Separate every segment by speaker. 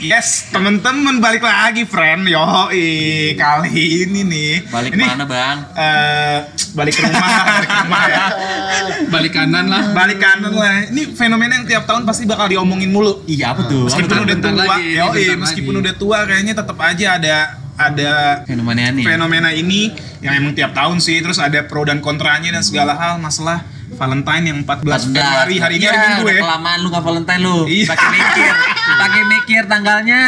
Speaker 1: Yes, temen-temen balik lagi, friend. Yoi, kali ini nih.
Speaker 2: Balik
Speaker 1: ini,
Speaker 2: mana bang?
Speaker 1: eh, balik ke rumah, balik ke rumah ya.
Speaker 3: balik kanan lah
Speaker 1: Balik kanan lah. Ini fenomena yang tiap tahun pasti bakal diomongin mulu.
Speaker 2: Iya apa tuh?
Speaker 1: Meskipun
Speaker 3: bentar
Speaker 1: udah tua,
Speaker 3: lagi, ini
Speaker 1: yoi,
Speaker 3: bentar
Speaker 1: meskipun
Speaker 3: lagi.
Speaker 1: udah tua kayaknya tetap aja ada ada
Speaker 2: Fenomena ini.
Speaker 1: fenomena ini yang emang tiap tahun sih terus ada pro dan kontranya dan segala hal masalah Valentine yang 14 Februari hari ini
Speaker 2: ya,
Speaker 1: hari Minggu ya.
Speaker 2: Kelamaan lu nggak Valentine lu.
Speaker 1: Iya.
Speaker 2: Pakai mikir, pakai mikir tanggalnya.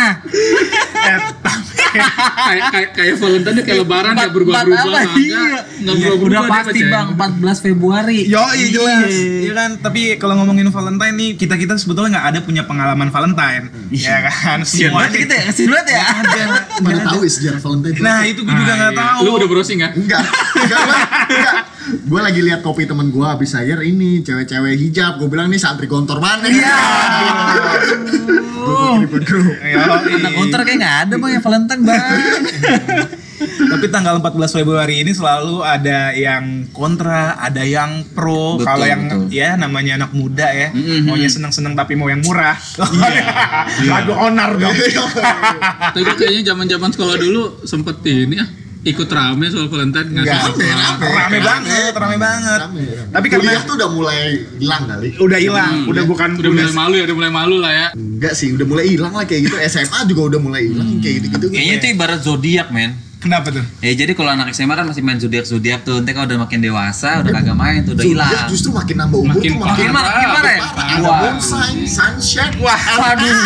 Speaker 1: Eh, tapi-
Speaker 3: kayak kayak kayak Valentine dia kayak Lebaran ya
Speaker 2: Empat- empat
Speaker 3: berubah-berubah
Speaker 2: apa?
Speaker 3: nggak
Speaker 2: Iya.
Speaker 3: nggak
Speaker 2: Iya,
Speaker 3: berubah-berubah
Speaker 2: Udah
Speaker 3: dia, ya.
Speaker 2: pasti
Speaker 3: Pak,
Speaker 2: bang, 14 Februari.
Speaker 1: ya. Yo, iya jelas.
Speaker 2: Iya.
Speaker 1: Iya kan, tapi kalau ngomongin Valentine nih, kita-kita sebetulnya nggak ada punya pengalaman Valentine. Ya kan,
Speaker 4: Iya,
Speaker 2: Kesian
Speaker 1: semua
Speaker 2: banget kita ya, kesian banget ya.
Speaker 1: Iya.
Speaker 5: Mana tahu ya sejarah Valentine tuh.
Speaker 1: Nah, itu gue
Speaker 3: Jeng.
Speaker 1: juga nggak
Speaker 3: Ah, iya.
Speaker 1: tahu.
Speaker 3: lu udah browsing kan
Speaker 5: enggak. Enggak, Bang. enggak. Gue lagi lihat kopi temen gue habis akhir ini cewek-cewek hijab. Gue bilang nih santri gontor mana? Iya. Gue grup.
Speaker 1: Yoi.
Speaker 2: Anak konter kayak nggak ada bang yang Valentine bang.
Speaker 1: Tapi tanggal 14 Februari ini selalu ada yang kontra, ada yang pro.
Speaker 2: Betul,
Speaker 1: Kalau yang
Speaker 2: betul.
Speaker 1: ya namanya anak muda ya,
Speaker 2: Mm-mm.
Speaker 1: maunya seneng-seneng tapi mau yang murah. Iya. Lagu onar dong.
Speaker 3: tapi gua kayaknya zaman zaman sekolah dulu sempet ini ya ikut rame soal Valentine nggak
Speaker 5: Enggak,
Speaker 3: salah.
Speaker 5: rame, rame.
Speaker 1: Rame banget, rame banget.
Speaker 5: Rame, rame.
Speaker 1: Tapi karena-
Speaker 5: Kuliah tuh udah mulai hilang kali. Hmm.
Speaker 1: Udah hilang, udah bukan
Speaker 3: udah mulai malu ya udah mulai malu lah ya
Speaker 5: Enggak sih, udah mulai hilang lah kayak gitu. SMA juga udah mulai hilang
Speaker 1: Hmm.
Speaker 5: kayak gitu-gitu.
Speaker 2: Kayaknya itu ibarat zodiak men.
Speaker 1: Kenapa tuh?
Speaker 2: Ya jadi kalau anak SMA kan masih main zodiak zodiak tuh, nanti kalau udah makin dewasa udah kagak main tuh udah
Speaker 5: Zodiac
Speaker 2: hilang.
Speaker 5: justru makin nambah umur
Speaker 3: Makin
Speaker 5: tuh
Speaker 3: parah.
Speaker 5: makin
Speaker 2: Makin mana? Makin parah ya?
Speaker 5: parah. Ada
Speaker 2: Wah.
Speaker 5: bonsai, sunshine,
Speaker 1: Wah,
Speaker 2: Waduh,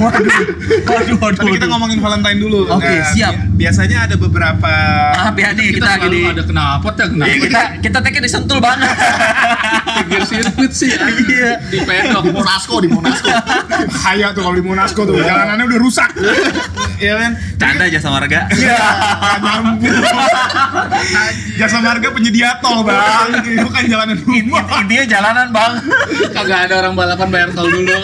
Speaker 2: waduh, waduh, waduh.
Speaker 1: Tapi kita ngomongin Valentine dulu.
Speaker 2: Oke,
Speaker 1: Nah,
Speaker 2: siap.
Speaker 1: bi- Biasanya ada beberapa
Speaker 2: Maaf ya
Speaker 4: Iya,
Speaker 2: nih
Speaker 3: kita
Speaker 2: kita lagi
Speaker 3: selalu
Speaker 2: di
Speaker 3: ada kenapa ya
Speaker 2: Iya,
Speaker 3: kenapa
Speaker 2: kita kita tag disentul banget.
Speaker 3: pinggir sirkuit sih ya.
Speaker 2: Iya.
Speaker 3: di pedok
Speaker 5: di Monasco, di Monasco.
Speaker 1: bahaya tuh kalau di Monasco tuh jalanannya udah rusak. Iya kan?
Speaker 2: Canda aja sama warga.
Speaker 1: Iya, nggak nyambung. Jasa marga penyedia tol, Bang. Itu kan jalanan rumah.
Speaker 2: Intinya jalanan bang.
Speaker 3: kagak ada orang balapan bayar tol dulu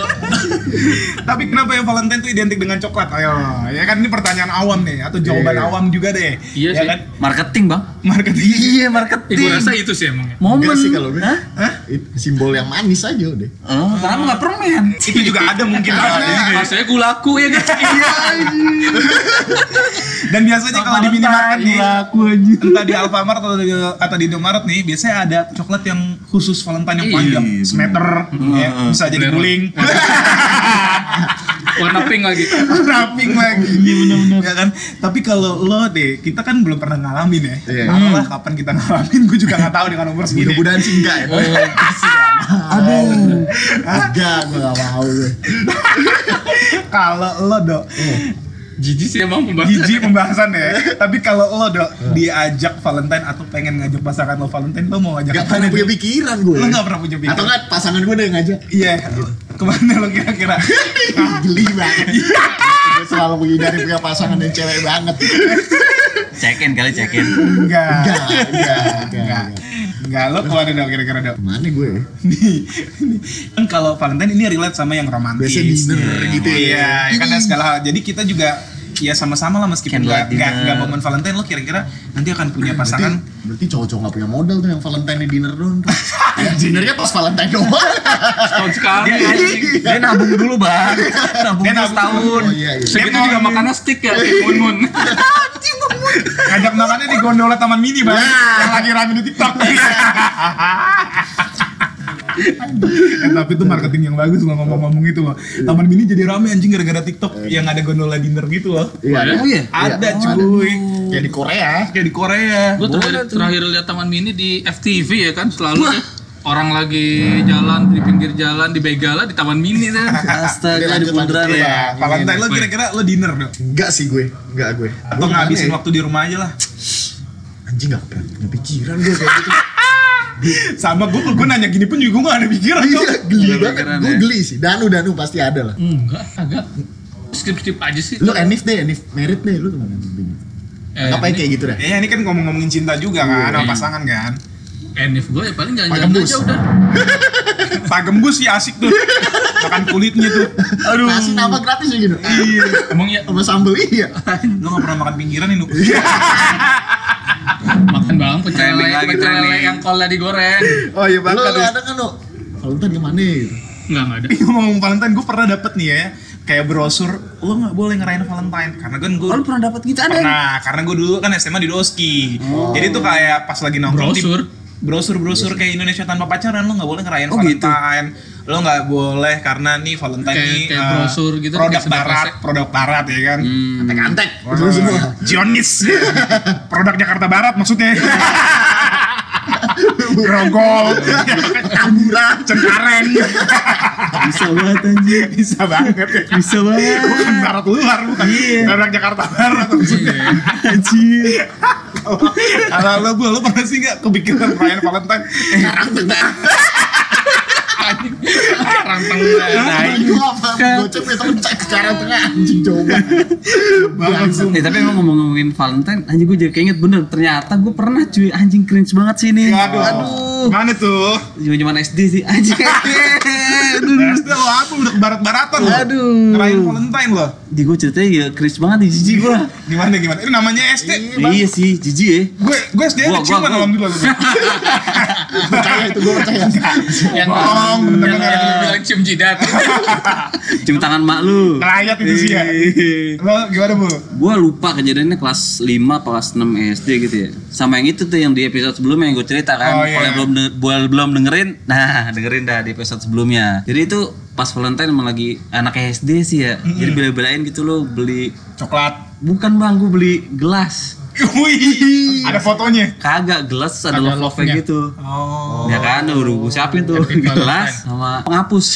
Speaker 1: Tapi kenapa ya Valentine tuh identik dengan coklat? Ayo, ya kan ini pertanyaan awam nih atau jawaban
Speaker 5: Iya.
Speaker 1: awam juga deh.
Speaker 3: Iya
Speaker 1: ya
Speaker 3: sih.
Speaker 1: kan?
Speaker 2: Marketing bang.
Speaker 1: Marketing.
Speaker 2: Iya
Speaker 3: Eh, gua
Speaker 2: marketing.
Speaker 3: rasa itu sih emangnya
Speaker 5: Enggak
Speaker 2: Momen.
Speaker 5: sih kalau gue.
Speaker 2: Hah?
Speaker 5: It- Simbol yang manis aja udah.
Speaker 2: Oh, karena nggak permen.
Speaker 1: Itu juga ada mungkin.
Speaker 3: Nah, saya gue laku ya guys
Speaker 1: Dan biasanya kalau di minimarket nih,
Speaker 2: Iya, aku aja.
Speaker 1: entah di Alfamart atau di, atau di Indomaret nih biasanya ada coklat yang khusus Valentine yang
Speaker 3: Iya,
Speaker 1: panjang
Speaker 2: bener.
Speaker 1: semeter ya, bisa jadi
Speaker 3: Bener.
Speaker 1: guling
Speaker 3: warna pink lagi
Speaker 1: wrapping lagi ya kan tapi kalau lo deh kita kan belum pernah ngalamin ya
Speaker 5: Iya.
Speaker 1: malah kapan kita ngalamin gue juga nggak tahu dengan umur segini
Speaker 5: Mudah-mudahan sih enggak ya.
Speaker 2: Aduh.
Speaker 5: Enggak, gue gak mau gue.
Speaker 1: kalau lo dok
Speaker 3: jijik sih emang pembahasan
Speaker 1: Gigi pembahasan
Speaker 5: Iya.
Speaker 1: ya tapi kalau lo dok diajak Valentine atau pengen ngajak pasangan lo Valentine lo mau ngajak
Speaker 5: Gak
Speaker 1: kemana,
Speaker 5: pernah punya
Speaker 1: Dok?
Speaker 5: pikiran gue.
Speaker 1: Lo nggak pernah punya pikiran.
Speaker 5: Atau enggak pasangan gue udah ngajak.
Speaker 1: iya kemana lo kira-kira
Speaker 5: Geli banget. Gue selalu menghindari punya pasangan yang cewek banget.
Speaker 2: Check in kali check in.
Speaker 1: enggak
Speaker 5: Enggak, enggak, enggak.
Speaker 1: enggak enggak lo kemana dok kira-kira dok
Speaker 5: Mana gue? ya?
Speaker 1: nih nih. kan kalau Valentine ini relate sama yang romantis
Speaker 5: Biasanya dinner
Speaker 2: Iya.
Speaker 5: gitu ya.
Speaker 1: iya ya kan ada segala hal jadi kita juga ya sama-sama lah meskipun nggak
Speaker 2: Candlelight
Speaker 1: nggak
Speaker 2: dinner.
Speaker 1: nggak momen Valentine lo kira-kira nanti akan punya
Speaker 5: Berarti,
Speaker 1: pasangan
Speaker 5: berarti cowok-cowok gak punya modal tuh yang Valentine dinner doang tuh. Dinnernya pas Valentine doang.
Speaker 3: tahun sekali
Speaker 4: Iya,
Speaker 1: Dia-
Speaker 3: anjing.
Speaker 2: Dia nabung dulu bang. Nabung
Speaker 1: Dia
Speaker 2: dulu
Speaker 1: nabung
Speaker 2: setahun.
Speaker 5: Oh iya, iya.
Speaker 3: segitu juga makannya stick ya kayak mun mun
Speaker 1: ngajak makannya di gondola Taman Mini bang yang lagi rame di TikTok Eh, tapi itu marketing yang bagus lo ngomong-ngomong itu loh Taman Mini jadi rame anjing gara-gara TikTok yang ada gondola dinner gitu loh
Speaker 5: Iya.
Speaker 2: Oh iya.
Speaker 1: Eh. ada
Speaker 5: Iya.
Speaker 1: cuy
Speaker 5: Kayak di Korea.
Speaker 1: kayak di Korea
Speaker 3: gue terakhir, terakhir lihat taman mini di FTV ya kan selalu tuh orang lagi jalan di pinggir jalan di begala di taman mini tuh
Speaker 5: Dia
Speaker 2: Astaga di
Speaker 5: lanjut, Iya,
Speaker 2: bundaran
Speaker 5: lanjut,
Speaker 2: ya.
Speaker 5: Bang.
Speaker 1: Valentine lo kira-kira lo dinner dong
Speaker 5: Enggak sih gue, enggak gue.
Speaker 1: atau
Speaker 5: Gue
Speaker 1: ngabisin
Speaker 5: gimana
Speaker 1: waktu di rumah aja lah
Speaker 5: ya? Anjing enggak pernah punya pikiran gue kayak gitu.
Speaker 1: sama gue gue nanya gini pun juga gue gak ada pikiran
Speaker 5: Iya,
Speaker 1: kok.
Speaker 5: geli
Speaker 2: Ada
Speaker 5: banget.
Speaker 2: pikiran,
Speaker 5: Gue
Speaker 2: ya.
Speaker 5: geli sih. Danu Danu pasti ada lah.
Speaker 3: enggak agak skip skip aja sih
Speaker 5: Lu Enif deh, Enif merit deh lu gimana?
Speaker 3: Eh,
Speaker 5: Ngapain kayak gitu dah?
Speaker 1: ya ini kan ngomong-ngomongin cinta juga kan sama
Speaker 3: Iya.
Speaker 1: pasangan kan
Speaker 3: Enif gue ya paling
Speaker 5: Pakai
Speaker 3: jalan-jalan
Speaker 5: bus.
Speaker 3: aja udah
Speaker 1: pak gembus sih asik tuh makan kulitnya tuh aduh
Speaker 5: Nasi nama gratis ya gitu.
Speaker 1: iya
Speaker 3: emang ya
Speaker 5: Sama sambel iya.
Speaker 1: lo gak pernah makan pinggiran ini
Speaker 3: makan bang pecel
Speaker 2: Trending
Speaker 3: lele
Speaker 2: lagi,
Speaker 3: pecel lele
Speaker 2: trending.
Speaker 3: yang kolnya digoreng
Speaker 1: oh iya
Speaker 5: Lu, lu
Speaker 1: banget
Speaker 5: ada kan lu? Valentine gimana?
Speaker 3: enggak enggak ada
Speaker 1: ngomong Valentine gue pernah dapet nih ya kayak brosur lo nggak boleh ngerayain Valentine karena kan gue
Speaker 4: Oh, lu pernah dapat gitu ada? nih?
Speaker 1: pernah karena gue dulu kan SMA di Doski jadi tuh kayak pas lagi nongkrong di-
Speaker 3: Brosur?
Speaker 1: Oh. brosur brosur kayak Indonesia tanpa pacaran lo nggak boleh ngerayain
Speaker 4: Oh, gitu?
Speaker 1: Valentine lo nggak boleh karena nih Valentine
Speaker 3: Kayak-
Speaker 1: nih
Speaker 3: kayak
Speaker 1: eh,
Speaker 3: brosur gitu,
Speaker 1: produk
Speaker 3: kayak Hmm. sedekah
Speaker 1: barat
Speaker 3: sek.
Speaker 1: produk barat ya kan
Speaker 5: Antek-antek.
Speaker 1: Wah, Zionis produk Jakarta Barat maksudnya Grogol Tambura Cengkareng
Speaker 4: Bisa banget anjir.
Speaker 1: bisa banget ya
Speaker 4: Bisa banget.
Speaker 1: bukan barat luar bukan produk Jakarta Barat maksudnya
Speaker 4: Anjir.
Speaker 1: Kalau lo bu, lo pernah sih nggak kepikiran perayaan Valentine?
Speaker 3: Orang tengah.
Speaker 1: Nah,
Speaker 5: Nah, Gua apa?
Speaker 1: Kan.
Speaker 5: Gocep itu cek ke arah tengah anjing jauh banget.
Speaker 1: Langsung.
Speaker 4: Eh tapi emang ngomong-ngomongin Valentine, anjing gue jadi keinget bener. Ternyata gue pernah cuy, anjing cringe banget sih ini.
Speaker 1: Iya, Aduh,
Speaker 4: Iya. Aduh.
Speaker 1: Mana tuh?
Speaker 4: Cuma zaman SD sih, anjing. Aduh.
Speaker 1: SD lo apa? Udah ke barat-baratan lo.
Speaker 4: Aduh.
Speaker 1: Ngerayain Valentine lo.
Speaker 4: Di gue ceritanya ya cringe banget di jijik gue.
Speaker 1: Gimana gimana? Ini namanya SD.
Speaker 4: Iya sih, jijik ya.
Speaker 1: Gue gue SD
Speaker 4: Gua-
Speaker 1: ada
Speaker 4: gua-
Speaker 1: ciuman
Speaker 4: gua. Iya,
Speaker 1: alhamdulillah gue.
Speaker 5: Percaya itu gua percaya.
Speaker 3: Yang
Speaker 1: Bohong, Oh,
Speaker 4: Iya,
Speaker 1: bener
Speaker 3: yang
Speaker 1: bener.
Speaker 3: bilang cium jidat.
Speaker 4: Cium tangan mak lu. Iya.
Speaker 1: Ngelayat itu sih ya. Lo gimana bu?
Speaker 4: Gue lupa kejadiannya kelas 5 atau kelas 6 SD gitu ya. Sama yang itu tuh yang di episode sebelumnya yang gue cerita kan.
Speaker 1: Oh, iya.
Speaker 4: Kalau yang belum denger- buat- belum dengerin, nah dengerin dah di episode sebelumnya. Jadi itu pas Valentine emang lagi anak SD sih ya. Jadi bela-belain gitu loh beli
Speaker 1: Coklat.
Speaker 4: bukan bang gue beli gelas. Iya.
Speaker 1: Wih, ada fotonya.
Speaker 4: Kagak gelas terus ada
Speaker 3: Ada
Speaker 4: love nya
Speaker 3: love-nya.
Speaker 4: gitu.
Speaker 1: Oh,
Speaker 4: Ya kan, udah gue siapin tuh
Speaker 3: Happy Valentine.
Speaker 4: gelas sama penghapus.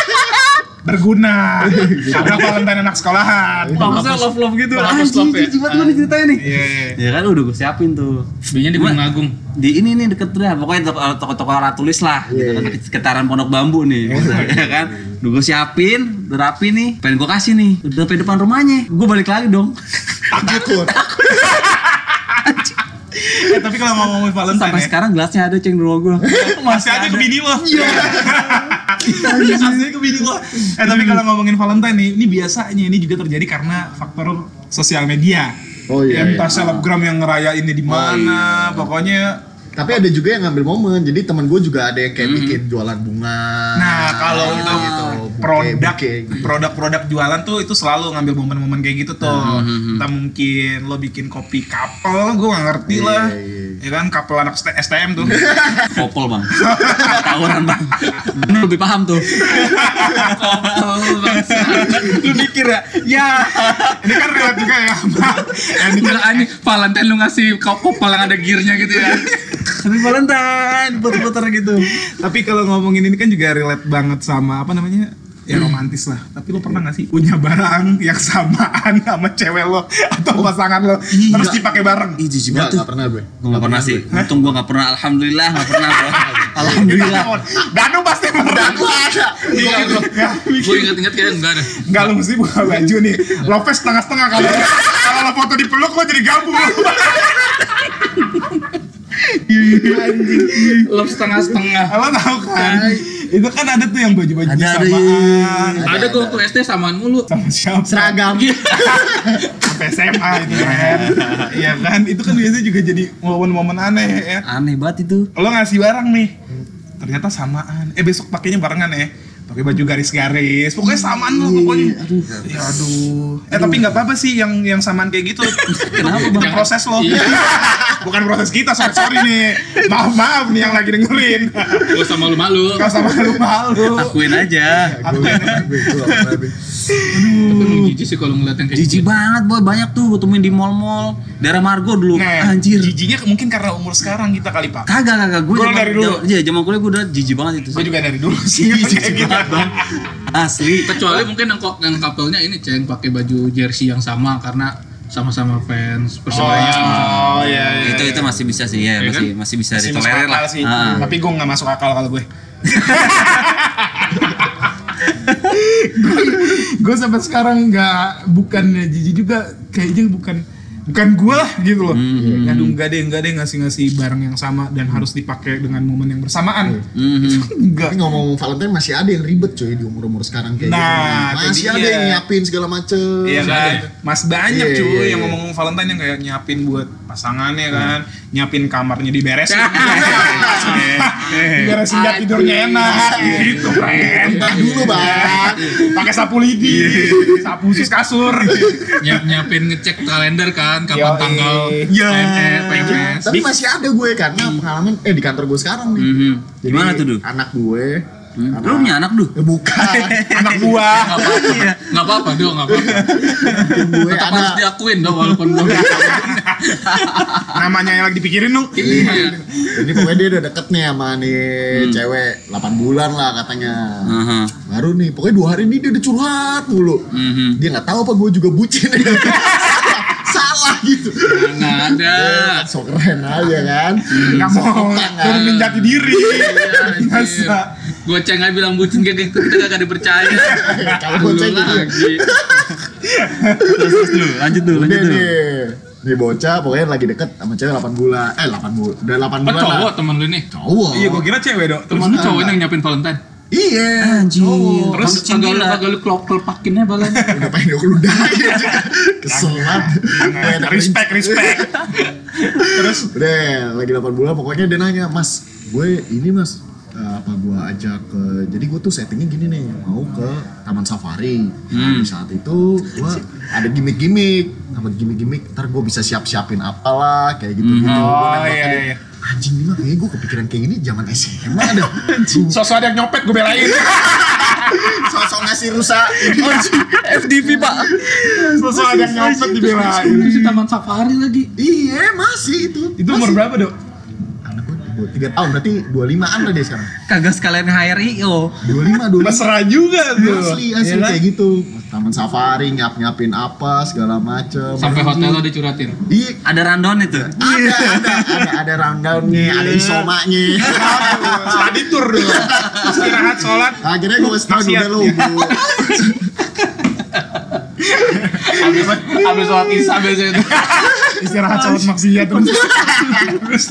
Speaker 1: berguna.
Speaker 4: Iya.
Speaker 1: Ada Valentine anak sekolahan.
Speaker 4: Penghapusnya love love gitu.
Speaker 3: penghapus love ya.
Speaker 4: Anjing, cepat gue diceritain nih.
Speaker 1: Iya, iya.
Speaker 4: Ya kan udah gue siapin tuh.
Speaker 3: Biasanya di Gunung Agung.
Speaker 4: di ini nih deket dah pokoknya toko toko, toko alat tulis lah gitu kan sekitaran pondok bambu nih gitu, ya kan udah gue siapin udah rapi nih pengen gue kasih nih udah sampai depan rumahnya gue balik lagi dong
Speaker 5: Takut.
Speaker 1: Eh, tapi kalau mau ngomongin Valentine
Speaker 4: sampai
Speaker 1: ya,
Speaker 4: sekarang gelasnya ada ceng di rumah gue
Speaker 1: masih aja ke bini lo. Iya. Masih aja ke bini lo. Eh tapi kalau ngomongin Valentine nih, ini biasanya ini juga terjadi karena faktor sosial media.
Speaker 5: Oh, iya, Oh,
Speaker 1: Yang
Speaker 5: iya.
Speaker 1: entah selebgram yang ngerayainnya di mana, pokoknya.
Speaker 5: Tapi ada juga yang ngambil momen. Jadi teman gua juga ada yang kayak bikin jualan bunga. Gitu,
Speaker 1: Nah kalau itu
Speaker 5: buke,
Speaker 1: produk
Speaker 5: buke, gitu.
Speaker 1: produk-produk jualan tuh itu selalu ngambil momen-momen kayak gitu tuh.
Speaker 5: Hmm,
Speaker 1: Entah mungkin lo bikin kopi kapel, gue gak ngerti
Speaker 5: Iya,
Speaker 1: lah.
Speaker 5: iya.
Speaker 1: Ya kan kapel anak ST STM tuh.
Speaker 4: kopol bang tawuran bang lu lebih paham tuh Oh, lu mikir ya ya
Speaker 1: ini kan relate juga ya.
Speaker 3: Yang anjing Valentine lu ngasih kopop paling ada gearnya gitu ya.
Speaker 4: tapi Valentine puter-puter gitu
Speaker 1: Tapi kalau ngomongin ini kan juga relate banget sama apa namanya? Ya
Speaker 5: Hmm.
Speaker 1: romantis lah. Tapi lo pernah gak sih punya barang yang samaan sama cewek lo atau
Speaker 5: Oh.
Speaker 1: pasangan lo
Speaker 5: Iya.
Speaker 1: terus dipakai bareng?
Speaker 4: ih jijik
Speaker 5: Enggak,
Speaker 4: banget tuh
Speaker 5: enggak pernah gue.
Speaker 4: gue gak pernah sih untung gue gak pernah alhamdulillah gak pernah bro alhamdulillah
Speaker 1: Danu pasti pernah.
Speaker 5: Aku ada.
Speaker 1: Iya,
Speaker 3: Gue Iya, inget-inget kayak enggak ada.
Speaker 1: Enggak lo mesti buka baju nih.
Speaker 5: Iya.
Speaker 1: Lopez setengah-setengah kalau kalau lo foto di peluk lo jadi gabung.
Speaker 5: Iya.
Speaker 3: Love setengah-setengah.
Speaker 1: lo tau kan? Itu kan ada tuh yang baju-baju
Speaker 5: Ada, ada,
Speaker 1: samaan.
Speaker 3: Ada gue waktu SD samaan mulu.
Speaker 1: Sama siapa?
Speaker 5: Seragam.
Speaker 1: Sampai SMA itu kan. Iya kan? Itu kan biasanya juga jadi momen-momen aneh ya.
Speaker 4: aneh banget itu
Speaker 1: lo ngasih barang nih ternyata samaan eh besok pakainya barengan ya pakai baju garis-garis pokoknya samaan lo pokoknya aduh. ya aduh eh tapi nggak apa-apa sih yang yang samaan kayak gitu kenapa bukan proses lo
Speaker 3: Iya.
Speaker 1: bukan proses kita sorry sorry nih maaf maaf nih yang lagi dengerin
Speaker 3: Gue sama lu malu.
Speaker 1: nggak sama lu malu
Speaker 4: akuin aja
Speaker 3: Tapi lu jijik sih kalau ngeliat yang kayak
Speaker 4: Jijik
Speaker 3: gitu.
Speaker 4: banget boy, banyak tuh gue temuin di mall-mall Daerah Margo dulu,
Speaker 1: nah
Speaker 4: anjir
Speaker 1: jijinya mungkin karena umur sekarang kita kali pak
Speaker 4: Kagak, kagak, gue
Speaker 1: Gua dari dulu.
Speaker 4: Iya, zaman kuliah gue udah jijik banget itu
Speaker 1: gue juga dari dulu sih kayak gitu.
Speaker 4: Asli
Speaker 3: Kecuali mungkin yang, ko- yang couple-nya ini ceng pakai baju jersey yang sama karena sama-sama fans persebaya.
Speaker 1: oh iya iya
Speaker 4: Itu itu masih bisa sih, ya,
Speaker 3: Iya
Speaker 4: masih, masih bisa
Speaker 1: kan? masih masuk
Speaker 4: ditolerir
Speaker 1: akal
Speaker 4: lah
Speaker 1: sih
Speaker 4: Ah.
Speaker 1: tapi gue nggak masuk akal kalau gue gue sampai sekarang nggak bukannya jijik juga kayaknya bukan bukan gue lah gitu loh
Speaker 4: Hmm.
Speaker 1: aduh nggak deh nggak deh ngasih ngasih barang yang sama dan harus dipakai dengan momen yang bersamaan
Speaker 4: Mhm.
Speaker 1: enggak
Speaker 5: Tapi ngomong-ngomong Valentine masih ada yang ribet cuy di umur-umur sekarang kayak
Speaker 1: Nah,
Speaker 5: gitu.
Speaker 1: itu
Speaker 5: Masih
Speaker 1: dia.
Speaker 5: ada yang nyiapin segala macem.
Speaker 1: Iya kan, mas banyak
Speaker 5: Iya,
Speaker 1: cuy
Speaker 5: iya,
Speaker 1: yang
Speaker 5: iya.
Speaker 1: ngomong Valentine yang kayak nyiapin buat pasangannya kan, nyiapin kamarnya diberesin, diberesin biar tidurnya enak, gitu kan. Iya.
Speaker 5: Bentar dulu bang.
Speaker 1: pakai sapu lidi, sapu sus kasur.
Speaker 3: nyiap nyiapin ngecek kalender kan kapan
Speaker 1: Yoi.
Speaker 3: tanggal
Speaker 1: Ya.
Speaker 3: PNS, PNS.
Speaker 5: Tapi masih ada gue karena pengalaman eh di kantor gue sekarang nih.
Speaker 4: Mhm.
Speaker 5: Jadi,
Speaker 4: Gimana tuh, Du? Hmm?
Speaker 5: Anak gue. anak-
Speaker 4: Lu punya anak, Du?
Speaker 5: Eh, Bukan.
Speaker 1: Anak buah.
Speaker 3: Nggak apa-apa,
Speaker 1: Iya.
Speaker 3: nggak apa-apa dong, nggak apa-apa.
Speaker 5: gue
Speaker 3: Tetap harus
Speaker 5: ada
Speaker 3: diakuin dong walaupun belum.
Speaker 1: Iya. Namanya yang lagi dipikirin lu.
Speaker 3: Iya.
Speaker 5: ini pokoknya dia udah deket nih sama nih cewek 8 bulan lah katanya
Speaker 4: Aha.
Speaker 5: baru nih pokoknya dua hari ini dia udah curhat mulu
Speaker 4: Mhm.
Speaker 5: dia nggak tahu apa gue juga bucin Salah, salah gitu
Speaker 3: Nggak ada.
Speaker 5: so keren aja kan
Speaker 1: Nggak mau turunin jati diri. Masa.
Speaker 3: Gue ceng aja bilang bucin kayak gitu kita gak dipercaya.
Speaker 5: Kalau goceng gitu ya.
Speaker 4: Terus, terus, Du. Lanjut, Du.
Speaker 5: Udah
Speaker 4: Lanjut, Du.
Speaker 5: nih nih bocah pokoknya lagi deket sama cewek 8 bulan eh 8 bulan udah 8
Speaker 3: Apa
Speaker 5: bulan lah
Speaker 3: cowok temen lu nih?
Speaker 5: cowok
Speaker 1: Iya, gua kira cewek dong. Terus
Speaker 3: Temen lu cowok yang nyiapin Valentine.
Speaker 5: iya
Speaker 4: Anjing.
Speaker 5: cowok.
Speaker 1: Oh,
Speaker 3: Terus
Speaker 4: Bucin
Speaker 3: kagak lu
Speaker 4: gila.
Speaker 3: kagak lu klop klopakin ya balanya.
Speaker 5: udah pengen gue ludahin kesel banget Pengen
Speaker 1: Jangan.
Speaker 5: dengerin.
Speaker 1: respect, respect. Terus
Speaker 5: Udah, lagi 8 bulan pokoknya dia nanya, "Mas, gue ini, Mas, eh, apa gue ajak ke jadi gue tuh settingnya gini nih mau ke taman safari Nah,
Speaker 1: Hmm.
Speaker 5: di saat itu gue ada gimmick-gimmick sama gimmick-gimmick ntar gue bisa siap-siapin apalah kayak gitu gitu Gue
Speaker 1: Oh
Speaker 5: nembak
Speaker 1: iya
Speaker 5: tadi,
Speaker 1: iya.
Speaker 5: anjing ini mah kayaknya gue kepikiran kayak gini zaman SMA ada
Speaker 1: Sosok ada yang nyopet gue belain.
Speaker 5: sosok ngasih rusak
Speaker 4: FDP, Pak.
Speaker 1: Sosok ada yang nyopet dibelain.
Speaker 3: Terus di taman safari lagi.
Speaker 5: iya masih itu
Speaker 1: Itu umur berapa, Dok?
Speaker 5: anak gue tiga tahun berarti 25an lah dia sekarang
Speaker 4: Kagak sekalian HRIO.
Speaker 5: 25 25
Speaker 1: Mesra juga tuh.
Speaker 5: asli asli
Speaker 1: Iya kan?
Speaker 5: kayak gitu taman safari nyap nyapin apa segala macem
Speaker 3: Sampai hotel lo dicuratin.
Speaker 5: iya
Speaker 4: Ada rundown itu.
Speaker 5: ada ada ada ada rundownnya ada isomanya
Speaker 1: Study tour dulu. Istirahat sholat.
Speaker 5: akhirnya gue ngasih tau
Speaker 1: Maksiat.
Speaker 5: udah lu Bu."
Speaker 3: Habis habis sholat isya biasanya.
Speaker 1: Istirahat sholat maksiat terus. Terus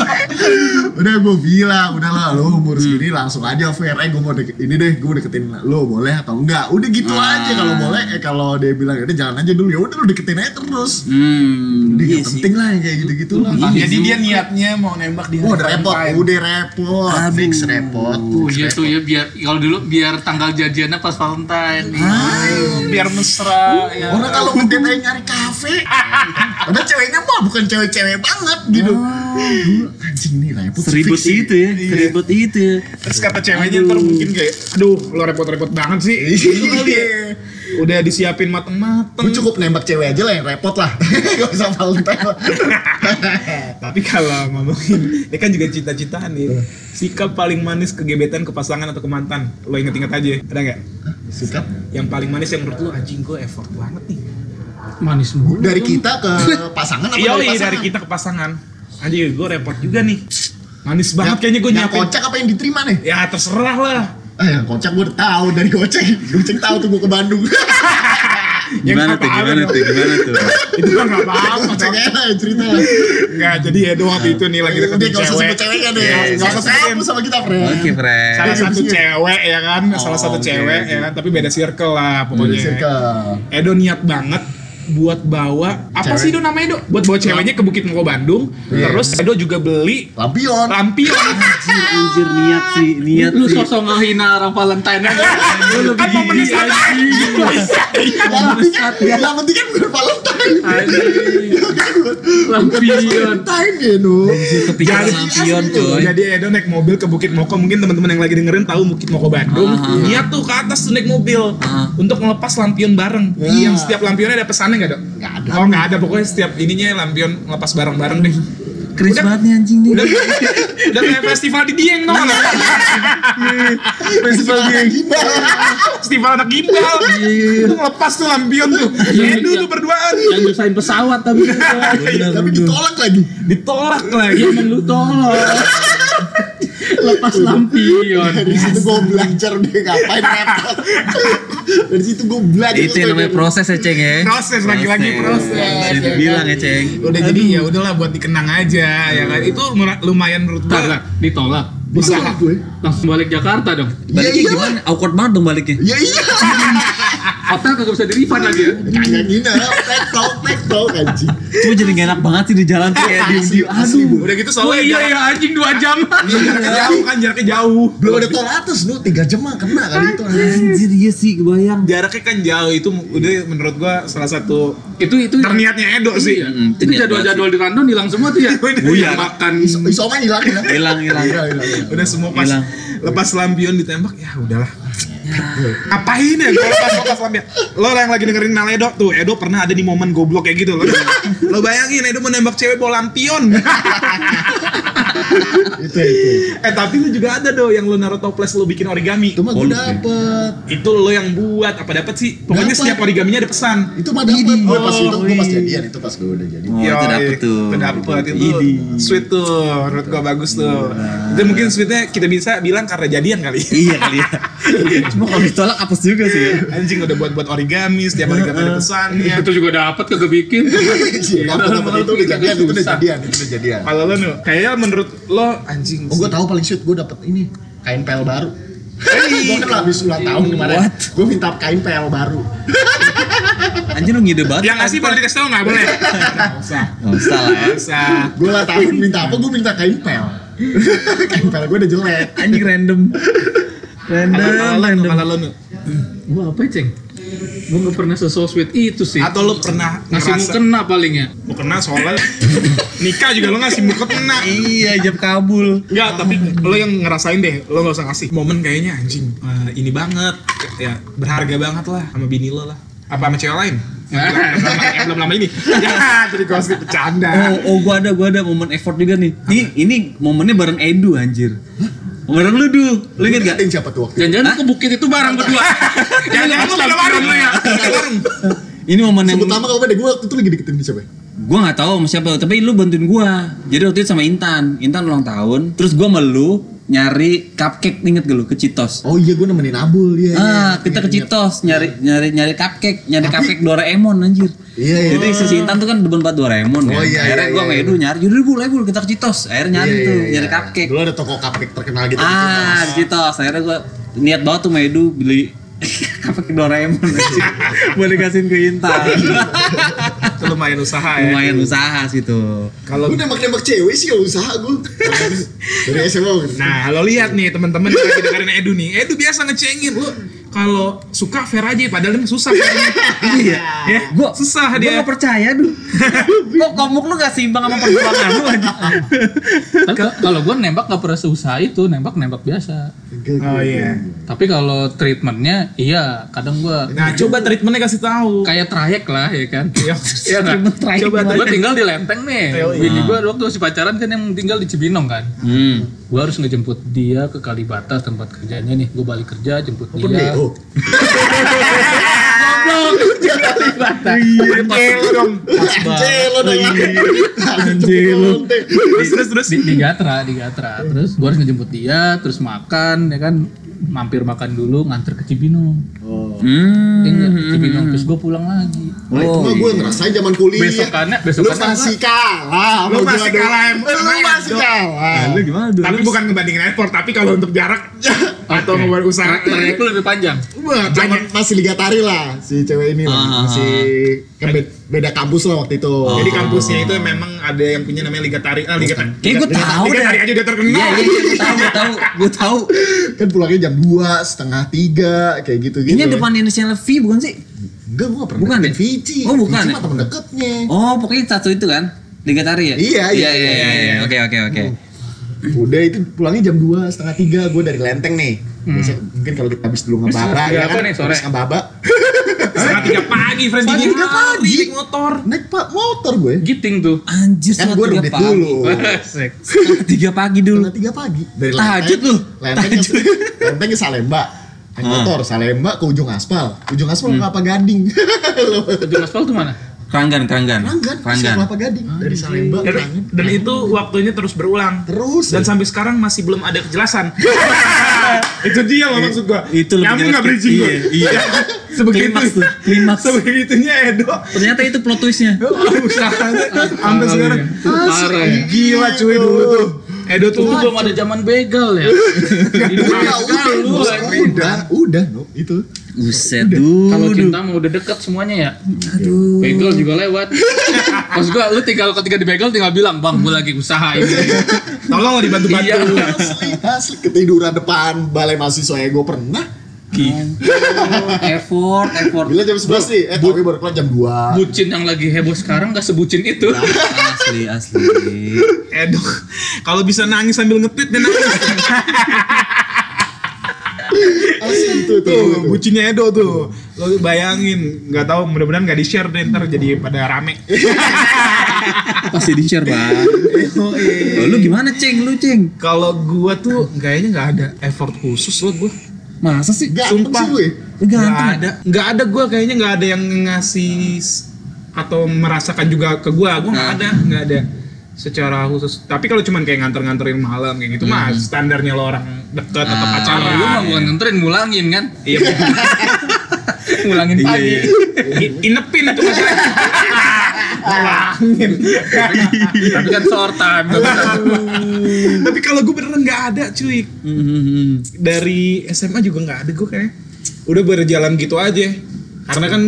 Speaker 5: udah gue bilang udah lah lu umur segini langsung aja fair eh gue mau deket, ini deh gue deketin lu boleh atau enggak udah gitu aja kalau boleh eh kalau dia bilang udah jalan aja dulu ya udah lu deketin aja terus
Speaker 4: Hmm.
Speaker 5: udah
Speaker 4: Iya
Speaker 5: gak
Speaker 4: sih.
Speaker 5: penting lah yang kayak gitu gitu lah
Speaker 1: jadi dia niatnya mau nembak di hari
Speaker 5: Wah, udah Oh, repot,
Speaker 1: Valentine.
Speaker 5: udah repot, fix repot,
Speaker 3: Oh
Speaker 5: fix
Speaker 3: iya
Speaker 5: repot.
Speaker 3: tuh ya biar kalau dulu biar tanggal jadiannya pas Valentine. Ah,
Speaker 1: biar mesra ya.
Speaker 5: Orang kalau ngedate aja nyari kafe. Padahal ceweknya mah bukan cewek-cewek banget gitu. Aduh, Anjing nih repot.
Speaker 4: Seribut
Speaker 5: fix
Speaker 4: itu
Speaker 1: Iya.
Speaker 4: ya, seribut itu ya.
Speaker 1: Terus kata ceweknya ntar mungkin kayak, aduh lo repot-repot banget sih.
Speaker 5: Iya.
Speaker 1: Gitu kali ya. Udah disiapin
Speaker 5: Gue
Speaker 1: mateng-mateng.
Speaker 5: cukup nembak cewek aja lah yang repot lah. Gak usah Valentine lah.
Speaker 1: Nah, Tapi kalau ngomongin, ini kan juga cita-citaan nih.
Speaker 5: Iya.
Speaker 1: Sikap paling manis ke gebetan, ke pasangan atau ke mantan, lo inget-inget aja. Ada nggak?
Speaker 5: Sikap
Speaker 1: Yang paling manis yang menurut lo anjing gue effort banget nih.
Speaker 3: Manis mulu.
Speaker 5: dari kita ke pasangan apa
Speaker 1: Iya
Speaker 5: dari pasangan?
Speaker 1: dari kita ke pasangan. Anjing gue repot juga nih. Manis banget
Speaker 5: Yang-
Speaker 1: kayaknya gue
Speaker 5: Yang
Speaker 1: nyiapin.
Speaker 5: kocak apa yang diterima nih?
Speaker 1: Ya terserah lah.
Speaker 5: Ah, yang kocak gue tahu dari gocek. Gocek tahu tuh gue ke Bandung.
Speaker 1: Ya,
Speaker 4: Gimana
Speaker 1: nggak
Speaker 4: tuh,
Speaker 1: apa-apa
Speaker 4: gimana
Speaker 1: dong.
Speaker 4: tuh, gimana tuh?
Speaker 1: Itu kan nggak apa-apa.
Speaker 5: Kocak ya?
Speaker 1: Cok.
Speaker 5: aja lah cerita.
Speaker 1: Enggak, jadi Edo waktu itu nih lagi
Speaker 5: Udah
Speaker 1: deketin
Speaker 5: gak usah
Speaker 1: cewek.
Speaker 5: sebut ceweknya deh.
Speaker 1: Iya,
Speaker 5: Gak
Speaker 1: nggak
Speaker 5: usah
Speaker 1: usah sebutin.
Speaker 5: sebut sama kita, Fred.
Speaker 4: Oke, Fred.
Speaker 1: Salah satu
Speaker 5: Iya.
Speaker 1: cewek ya kan, salah satu
Speaker 4: oke,
Speaker 1: cewek ya kan, tapi beda circle lah
Speaker 5: Dari
Speaker 1: pokoknya.
Speaker 5: circle.
Speaker 1: Edo niat banget buat bawa apa
Speaker 5: Cewek.
Speaker 1: sih Edo namanya Edo? Buat bawa ceweknya ke Bukit Moko Bandung.
Speaker 5: Iya.
Speaker 1: Terus Edo juga beli
Speaker 5: Lampion.
Speaker 1: lampion.
Speaker 4: Anjir, anjir niat sih, niat
Speaker 3: Iya, Lu
Speaker 4: sih.
Speaker 3: sosok ngehina orang Valentine aja. Lu lebih
Speaker 1: Kan mau
Speaker 3: gini
Speaker 1: menyesal.
Speaker 5: Yang penting kan, yang penting kan bukan Valentine.
Speaker 3: Lampion.
Speaker 5: Valentine ya, Nu.
Speaker 4: Kepikiran
Speaker 1: Jadi- gitu.
Speaker 4: lampion coy.
Speaker 1: Jadi Edo naik mobil ke Bukit Moko, mungkin teman-teman yang lagi dengerin tahu Bukit Moko Bandung. Niat tuh ke atas tuh naik mobil untuk melepas lampion bareng.
Speaker 5: Ya.
Speaker 1: Yang setiap lampionnya ada pesannya nggak dok?
Speaker 5: Nggak ada.
Speaker 1: Oh nggak ada, pokoknya setiap ininya lampion lepas bareng-bareng deh.
Speaker 4: Keren
Speaker 1: Udah-
Speaker 4: banget nih anjing nih.
Speaker 1: Udah, udah kayak festival di Dieng tau nggak?
Speaker 5: Iya. Festival dia gimana?
Speaker 1: Festival anak gimbal.
Speaker 5: Iya.
Speaker 1: Itu ngelepas tuh lampion tuh. Edo tuh berduaan.
Speaker 3: Yang nyusahin pesawat tapi
Speaker 5: Tapi ditolak lagi.
Speaker 1: Ditolak lagi.
Speaker 3: Emang Iya, lu tolong.
Speaker 5: Lepas
Speaker 3: Lampion.
Speaker 5: Dari situ gue belajar deh ngapain repot. Dari situ gue belajar.
Speaker 4: Itu yang namanya proses ya, Ceng ya.
Speaker 1: Proses, lagi-lagi proses. Iya,
Speaker 4: Bisa dibilang ya, Ceng.
Speaker 1: Oh, Iya. Udah jadi ya udahlah buat dikenang aja ya kan. Itu mera- lumayan menurut
Speaker 3: Bentar,
Speaker 1: gua.
Speaker 3: Ditolak.
Speaker 5: Bisa gue.
Speaker 3: Langsung balik Jakarta dong.
Speaker 5: Iya
Speaker 4: Baliknya
Speaker 5: iya.
Speaker 4: gimana? Awkward banget dong baliknya.
Speaker 5: Iya iya.
Speaker 3: Hotel kagak bisa di-refund lagi ya.
Speaker 5: Kagak gini, tektok tektok anjing.
Speaker 4: Cuma jadi gak enak banget sih di jalan tuh kayak diem diem.
Speaker 5: Asli, Bu.
Speaker 1: Udah gitu
Speaker 3: Oh
Speaker 1: soalnya
Speaker 3: iya ya anjing 2 jam.
Speaker 1: jarak- jaraknya jauh kan jaraknya jauh.
Speaker 5: Belum ada tol atas lu, 3 jam mah kena kali itu anjing.
Speaker 4: Anjir iya sih kebayang.
Speaker 1: Jaraknya kan jauh itu udah menurut gua salah satu
Speaker 3: itu itu
Speaker 1: terniatnya Edo sih.
Speaker 3: Iya.
Speaker 2: Mm,
Speaker 3: itu
Speaker 2: terniat
Speaker 3: jadwal-jadwal di Randon hilang semua tuh ya.
Speaker 1: Iya.
Speaker 3: makan
Speaker 5: Iso- Isoma hilang ya.
Speaker 4: Hilang, hilang.
Speaker 5: Hilang hilang.
Speaker 1: Udah semua pas
Speaker 4: Hilang.
Speaker 1: lepas lampion ditembak ya udahlah. Apain ya kalau lepas lepas lampion? Lo yang lagi dengerin Nal Edo tuh, Edo pernah ada di momen goblok kayak gitu lo. lo bayangin Edo menembak cewek bawa lampion.
Speaker 5: Itu itu.
Speaker 1: eh tapi lo juga ada do yang lo naruh toples lo bikin origami.
Speaker 5: Itu mah gue dapet.
Speaker 1: Itu lo yang buat apa dapat sih? Pokoknya
Speaker 5: Dapat.
Speaker 1: setiap origaminya ada pesan.
Speaker 5: Itu mah dapet. Gue pas itu gue pas jadian itu pas gue udah jadi.
Speaker 4: Oh, itu
Speaker 1: Yoi,
Speaker 4: dapet tuh.
Speaker 1: Itu iya. dapet itu sweet tuh, menurut gua bagus tuh. Itu mungkin sweetnya kita bisa bilang karena jadian kali.
Speaker 4: Iya kali ya. Cuma kalau ditolak apes juga sih. ya.
Speaker 1: Anjing udah buat-buat origami, setiap origami ada pesannya.
Speaker 3: itu juga dapat kagak bikin.
Speaker 5: Iya, dapet dapet itu udah jadian, itu udah jadian, itu udah jadian.
Speaker 1: Kalau lo nu, kayaknya menurut lo anjing.
Speaker 5: Oh gue tahu paling shoot gue dapet ini kain pel baru. Gue kan habis ulang tahun kemarin.
Speaker 4: What?
Speaker 5: Gue minta kain pel baru.
Speaker 4: Anjir lu ngide banget.
Speaker 1: Yang ngasih boleh dikasih tau Ya nggak boleh?
Speaker 4: Nggak usah lah.
Speaker 1: Bisa.
Speaker 5: Gue ulang tahun minta apa? Gue minta kain pel. kain pel gue udah jelek.
Speaker 4: Anjing random. Random, random.
Speaker 1: Kalau lo nu,
Speaker 3: Gua apa ya, Ceng? Gua nggak pernah seso sweet itu sih.
Speaker 1: atau lo pernah
Speaker 3: ngasih
Speaker 1: ngerasa
Speaker 3: mukena paling ya.
Speaker 1: mau kena soalnya nikah juga lo ngasih mau kena.
Speaker 4: Iya, jam kabul.
Speaker 1: Enggak, tapi lo yang ngerasain deh, lo gak usah ngasih. Momen kayaknya anjing, eh, ini banget, ya berharga banget lah sama bini lo lah. Apa sama cewek lain? Yang belum lama ini. Ya, jadi gosip
Speaker 4: Oh,
Speaker 1: bercanda.
Speaker 4: oh gua ada, gua ada momen effort juga nih. Ini ini momennya bareng Edu anjir. Bareng lu, Du. Lu inget gak?
Speaker 5: Dating siapa tuh waktu itu?
Speaker 3: Jangan-jangan lu ke bukit itu bareng berdua.
Speaker 1: Ya, jangan lo beda warung lo ya. Beda warung.
Speaker 4: Ini momen yang
Speaker 5: Sebut nama kalau pada gue waktu itu lagi deketin siapa? ya?
Speaker 4: gua nggak tahu sama siapa, tapi lu bantuin gua. Jadi waktu itu sama Intan, Intan ulang tahun, terus gua sama lu nyari cupcake inget gak lu ke Citos.
Speaker 5: Oh iya gue nemenin Abul ya.
Speaker 4: Ah, kita ke Citos nyari nyari nyari cupcake, nyari
Speaker 5: Tapi-
Speaker 4: cupcake Doraemon anjir.
Speaker 5: Iya iya.
Speaker 4: Jadi si Intan tuh kan demen banget Doraemon
Speaker 5: Oh,
Speaker 4: kan.
Speaker 5: iya,
Speaker 4: Akhirnya
Speaker 5: iya,
Speaker 4: gua sama
Speaker 5: iya,
Speaker 4: Edu nyari, yaudah boleh bul kita ke Citos. Akhirnya nyari
Speaker 5: Iya,
Speaker 4: tuh,
Speaker 5: iya, iya.
Speaker 4: nyari cupcake.
Speaker 5: Dulu ada toko cupcake terkenal gitu.
Speaker 4: Ah, di Citos. Akhirnya gua niat banget tuh sama Edu beli cupcake Doraemon anjir. Boleh kasihin ke Intan.
Speaker 1: Itu lumayan usaha ya.
Speaker 4: Lumayan usaha sih tuh.
Speaker 1: Kalau
Speaker 5: Gue nembak-nembak cewek sih ya usaha gue. Dari SMA gue.
Speaker 1: Nah, lo lihat nih teman-teman yang lagi dengerin Edu nih. Edu biasa ngecengin lo kalau suka fair aja padahal emang susah fairnya.
Speaker 4: Iya.
Speaker 1: ya,
Speaker 4: Gua
Speaker 1: susah
Speaker 4: gua
Speaker 1: dia.
Speaker 4: nggak percaya duh. Kok komuk lu gak seimbang sama perjuangan lu anjir.
Speaker 3: Kan kalau gua nembak nggak pernah seusaha itu, nembak-nembak biasa.
Speaker 4: Nah,
Speaker 1: Oh iya.
Speaker 3: Tapi kalau treatmentnya, iya kadang gua
Speaker 1: Nah, coba treatmentnya kasih tahu.
Speaker 3: kayak trayek lah ya kan.
Speaker 1: Iya.
Speaker 3: Iya nggak?
Speaker 4: Treatment trayek
Speaker 3: Coba
Speaker 4: gimana?
Speaker 3: gue tinggal di Lenteng nih.
Speaker 1: Ayo, iya.
Speaker 3: Bini gue waktu masih pacaran kan yang tinggal di Cibinong kan.
Speaker 4: Hmm.
Speaker 3: Gue harus ngejemput dia ke Kalibata tempat kerjanya nih. Gue balik kerja jemput
Speaker 4: oh,
Speaker 5: Open
Speaker 4: iya.
Speaker 3: dia.
Speaker 5: BO.
Speaker 1: Betul Iya. dong.
Speaker 5: Anjir lo dong. Anjir lo.
Speaker 1: Terus terus terus.
Speaker 3: Di, di Gatra, di Gatra. Terus gue harus ngejemput dia, terus makan ya kan. Mampir makan dulu, nganter ke Cibinong.
Speaker 4: Hmm. Oh, iya.
Speaker 3: Iya nggak? Ke Cibinong, terus gue pulang lagi.
Speaker 5: Nah, itu mah gue ngerasain zaman kuliah.
Speaker 3: Besokannya,
Speaker 5: Lu
Speaker 3: besokannya
Speaker 5: masih kalah. sama
Speaker 1: Lu
Speaker 5: gua
Speaker 1: masih
Speaker 5: dong.
Speaker 1: kalah,
Speaker 4: eh,
Speaker 1: em.
Speaker 5: Lu masih kalah.
Speaker 4: Lu gimana duh?
Speaker 1: Tapi bukan ngebandingin effort, tapi kalau untuk jarak atau ngebuat usaha
Speaker 3: trayek lu lebih panjang.
Speaker 5: Wah, zaman masih Liga Tari lah si cewek ini
Speaker 4: Ah.
Speaker 5: lah. Masih kan be- beda kampus lah waktu itu.
Speaker 1: Jadi kampusnya itu memang ada yang punya namanya Liga Tari. Ah, Liga Tari.
Speaker 4: Kayak gue
Speaker 1: Liga-
Speaker 4: Ya, tahu
Speaker 1: Liga
Speaker 4: deh.
Speaker 1: Tari aja udah
Speaker 4: Iya,
Speaker 1: terkenal.
Speaker 4: iya, iya, gue tahu, gue tahu, gue tahu.
Speaker 5: kan pulangnya jam 2, setengah 3, kayak gitu-gitu.
Speaker 4: Ini depan Indonesia V bukan sih?
Speaker 5: Enggak, gue gak pernah
Speaker 4: Bukan
Speaker 5: deketin
Speaker 4: ya?
Speaker 5: Vici.
Speaker 4: Oh, bukan
Speaker 5: Vici
Speaker 4: ya?
Speaker 5: mah temen deketnya.
Speaker 4: Oh, pokoknya satu itu kan? Liga Tari ya?
Speaker 5: Iya, iya,
Speaker 4: iya, iya, iya. Oke, oke, oke.
Speaker 5: Udah itu pulangnya jam 2, setengah 3, gue dari Lenteng nih. Biasa, mungkin kalau kita habis dulu ngebaba
Speaker 3: Habis
Speaker 5: ya
Speaker 3: apa
Speaker 5: kan,
Speaker 3: nih, sore?
Speaker 5: habis ngebaba.
Speaker 1: Setengah tiga pagi, Fresh
Speaker 5: Setengah
Speaker 1: dingin.
Speaker 5: tiga pagi.
Speaker 1: Naik motor.
Speaker 5: Naik pak motor gue.
Speaker 3: Giting tuh.
Speaker 4: Anjir,
Speaker 5: Kan
Speaker 4: setengah
Speaker 5: gue
Speaker 4: tiga
Speaker 5: rubit
Speaker 4: pagi.
Speaker 5: dulu.
Speaker 3: Sek.
Speaker 4: Setengah tiga pagi dulu.
Speaker 5: Setengah 3 pagi. Dari
Speaker 4: Tahajud lu.
Speaker 5: Lenteng ke, Lenteng ke Salemba. Naik motor, Salemba ke ujung aspal. Ujung aspal kelapa gading.
Speaker 3: Ujung aspal tuh mana?
Speaker 4: Keranggan, keranggan.
Speaker 5: Keranggan,
Speaker 4: Keranggan.
Speaker 5: kelapa gading. Dari Salemba ke
Speaker 1: Dan,
Speaker 5: Keranggan.
Speaker 1: dan itu waktunya terus berulang.
Speaker 5: Terus.
Speaker 1: Dan sampai sekarang masih belum ada kejelasan. itu dia loh maksud gua.
Speaker 4: Itu lebih
Speaker 1: Nyambung nggak
Speaker 4: jelas.
Speaker 1: bridging gua?
Speaker 4: Iya, iya.
Speaker 1: Ya, Sebegitu.
Speaker 4: Klimaks tuh, klimaks.
Speaker 1: Sebegitunya Edo.
Speaker 4: Ternyata itu plot twistnya.
Speaker 1: Usahanya sampai sekarang.
Speaker 3: Parah ya.
Speaker 1: Gila cuy dulu tuh. Iya, Edo tuh
Speaker 3: Itu belum ada zaman begal ya.
Speaker 5: udah, udah,
Speaker 3: lu
Speaker 5: udah, udah, udah, no, itu.
Speaker 4: Buset dude.
Speaker 3: Kalau cinta mau udah deket semuanya ya. Aduh. Begal juga lewat. Maksud gua lu tinggal ketika di begal tinggal bilang, "Bang, gua lagi usaha ini."
Speaker 1: tolong lo dibantu-bantu.
Speaker 3: Iya.
Speaker 5: Asli, asli ketiduran depan balai mahasiswa ya gue pernah.
Speaker 4: effort, effort.
Speaker 5: Bila jam 11 nih, eh tapi baru kelar jam 2.
Speaker 3: Bucin yang lagi heboh sekarang gak sebucin itu.
Speaker 4: Asli, asli.
Speaker 1: Edo, kalau bisa nangis sambil ngetit dan nangis.
Speaker 5: Asli Eh, itu tuh.
Speaker 1: tuh,
Speaker 5: itu.
Speaker 1: bucinnya Edo tuh. Lo bayangin, nggak tahu mudah-mudahan nggak di-share deh ntar jadi pada rame.
Speaker 4: Pasti di share bang. Oh, lu gimana ceng, lu ceng?
Speaker 1: Kalau gua tuh kayaknya nggak ada effort khusus lo gua.
Speaker 4: Masa sih?
Speaker 5: Ganteng
Speaker 1: Sumpah.
Speaker 5: sih gue.
Speaker 1: Nggak
Speaker 4: Ganteng.
Speaker 1: ada, nggak ada gua kayaknya nggak ada yang ngasih s- atau merasakan juga ke gua. Gua nggak ada, nggak ada secara khusus. Tapi kalau cuman kayak nganter-nganterin malam kayak gitu mah standarnya lo orang deket atau
Speaker 4: Ah,
Speaker 1: pacaran.
Speaker 3: Lu mah bukan nganterin, ngulangin kan?
Speaker 1: Iya.
Speaker 3: Ngulangin pagi.
Speaker 1: I- Inepin itu maksudnya. Ulangin.
Speaker 3: Tapi kan short time.
Speaker 1: Tapi kalau gue beneran nggak ada cuy.
Speaker 4: Mhm.
Speaker 1: Dari SMA juga nggak ada gue kayaknya. Udah berjalan gitu aja. Karena kan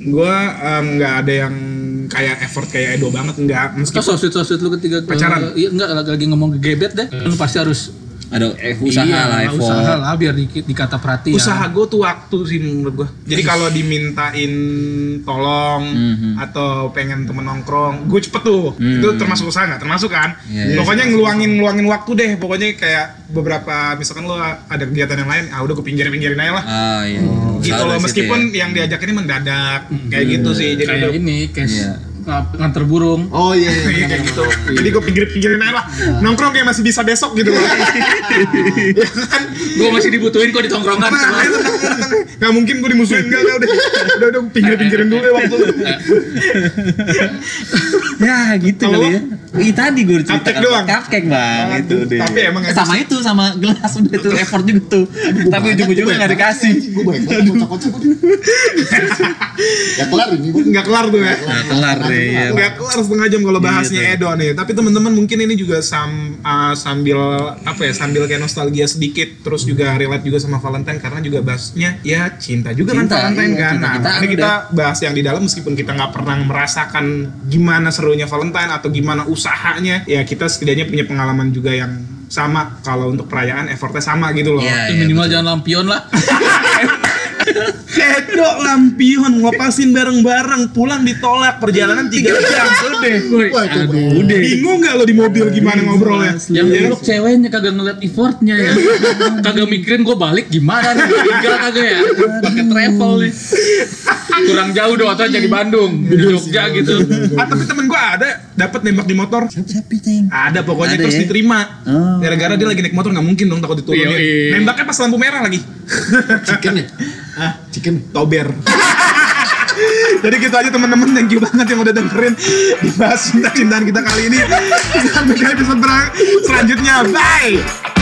Speaker 1: gue em, nggak ada yang kayak effort kayak Edo banget nggak
Speaker 3: Kok
Speaker 1: meskipun
Speaker 3: sosut sosut lu ketika
Speaker 1: Pacaran?
Speaker 3: Eh, iya enggak lagi, lagi ngomong ke gebet deh. Lu pasti harus
Speaker 4: Ada eh, usaha
Speaker 3: Iya,
Speaker 4: lah, effort.
Speaker 3: Usaha lah biar dikit
Speaker 4: Iya.
Speaker 3: dikata perhatian.
Speaker 1: usaha gue tuh waktu sih menurut gue jadi kalau dimintain tolong
Speaker 4: Mhm.
Speaker 1: atau pengen temen nongkrong gue cepet tuh itu termasuk usaha nggak termasuk kan
Speaker 4: Iya,
Speaker 1: pokoknya ngeluangin ngeluangin waktu deh pokoknya kayak beberapa misalkan lo ada kegiatan yang lain ah udah gue pinggir pinggirin aja lah
Speaker 4: Ah, iya.
Speaker 1: gitu
Speaker 4: Usaha
Speaker 1: loh
Speaker 4: dari situ
Speaker 1: meskipun
Speaker 4: ya. Mhm.
Speaker 1: yang diajak ini mendadak kayak gitu sih jadi
Speaker 3: kayak
Speaker 1: udah-
Speaker 3: ini, kayak
Speaker 4: Iya.
Speaker 3: ng- nganter burung.
Speaker 5: Oh iya, iya,
Speaker 1: Iya,
Speaker 5: bener,
Speaker 1: kayak
Speaker 5: bener.
Speaker 1: gitu. Jadi gue pinggir-pinggirin aja lah.
Speaker 4: Iya.
Speaker 1: Nongkrong kayak masih bisa besok gitu loh. ya kan?
Speaker 3: Gua masih dibutuhin kok di tongkrongan.
Speaker 1: Nah, itu Gak mungkin gue dimusuhin enggak enggak udah. Udah udah pinggir-pinggirin dulu ya waktu.
Speaker 4: Ya gitu
Speaker 1: Kalau
Speaker 4: kali ya. Ih tadi gue cerita
Speaker 1: Cupcake
Speaker 4: kan.
Speaker 1: doang.
Speaker 4: Cupcake bang
Speaker 1: Banget
Speaker 4: itu
Speaker 1: tuh.
Speaker 4: deh.
Speaker 1: Tapi emang ada-
Speaker 4: sama itu sama gelas udah itu effort juga tuh. Tapi ujung-ujungnya nggak dikasih.
Speaker 5: Gue baik banget, kocak-kocak. Ya kelar ini gue.
Speaker 1: Enggak kelar tuh ya.
Speaker 4: Nah, kelar deh ya.
Speaker 1: Enggak kelar setengah jam kalau bahasnya
Speaker 4: Iya
Speaker 1: Edo nih. Tapi teman-teman mungkin ini juga sam- ah, sambil apa ya? Sambil kayak nostalgia sedikit terus juga relate juga sama Valentine karena juga bahasnya ya cinta juga
Speaker 4: Cinta,
Speaker 1: kan Valentine
Speaker 4: iya,
Speaker 1: kan. Nah,
Speaker 4: cinta-cintaan
Speaker 1: makanya kita bahas yang di dalam meskipun kita nggak pernah merasakan gimana serunya Valentine atau gimana usahanya, ya kita setidaknya punya pengalaman juga yang sama kalau untuk perayaan effortnya sama gitu loh.
Speaker 4: Iya,
Speaker 3: Tapi
Speaker 4: iya,
Speaker 3: minimal
Speaker 4: betul.
Speaker 3: jangan lampion lah.
Speaker 1: Edo lampion ngelepasin bareng-bareng pulang ditolak perjalanan 3 jam udah.
Speaker 5: Wah, coba.
Speaker 4: Udah.
Speaker 1: Bingung nggak lo di mobil gimana
Speaker 4: Iya,
Speaker 1: ngobrolnya? Iya,
Speaker 3: Yang
Speaker 5: Iya,
Speaker 3: goblok ceweknya kagak ngeliat effortnya ya. kagak mikirin gue balik gimana nih. Tinggal kagak ya. Pakai travel nih. Kurang jauh dong atau jadi Bandung.
Speaker 5: Iya
Speaker 3: Di Jogja gitu.
Speaker 1: Ah, tapi temen gue ada dapat nembak di motor.
Speaker 4: Tapi ting.
Speaker 1: Ada pokoknya
Speaker 4: Ada
Speaker 1: terus
Speaker 4: ya?
Speaker 1: diterima.
Speaker 4: Oh.
Speaker 1: Gara-gara dia lagi naik motor nggak mungkin dong takut diturunin.
Speaker 3: Yoi.
Speaker 1: Nembaknya pas lampu merah lagi.
Speaker 5: Chicken ya? Ah, chicken.
Speaker 1: Tober. Jadi gitu aja teman-teman, thank you banget yang udah dengerin dibahas cinta-cintaan kita kali ini. Sampai ke episode berang- selanjutnya. Bye.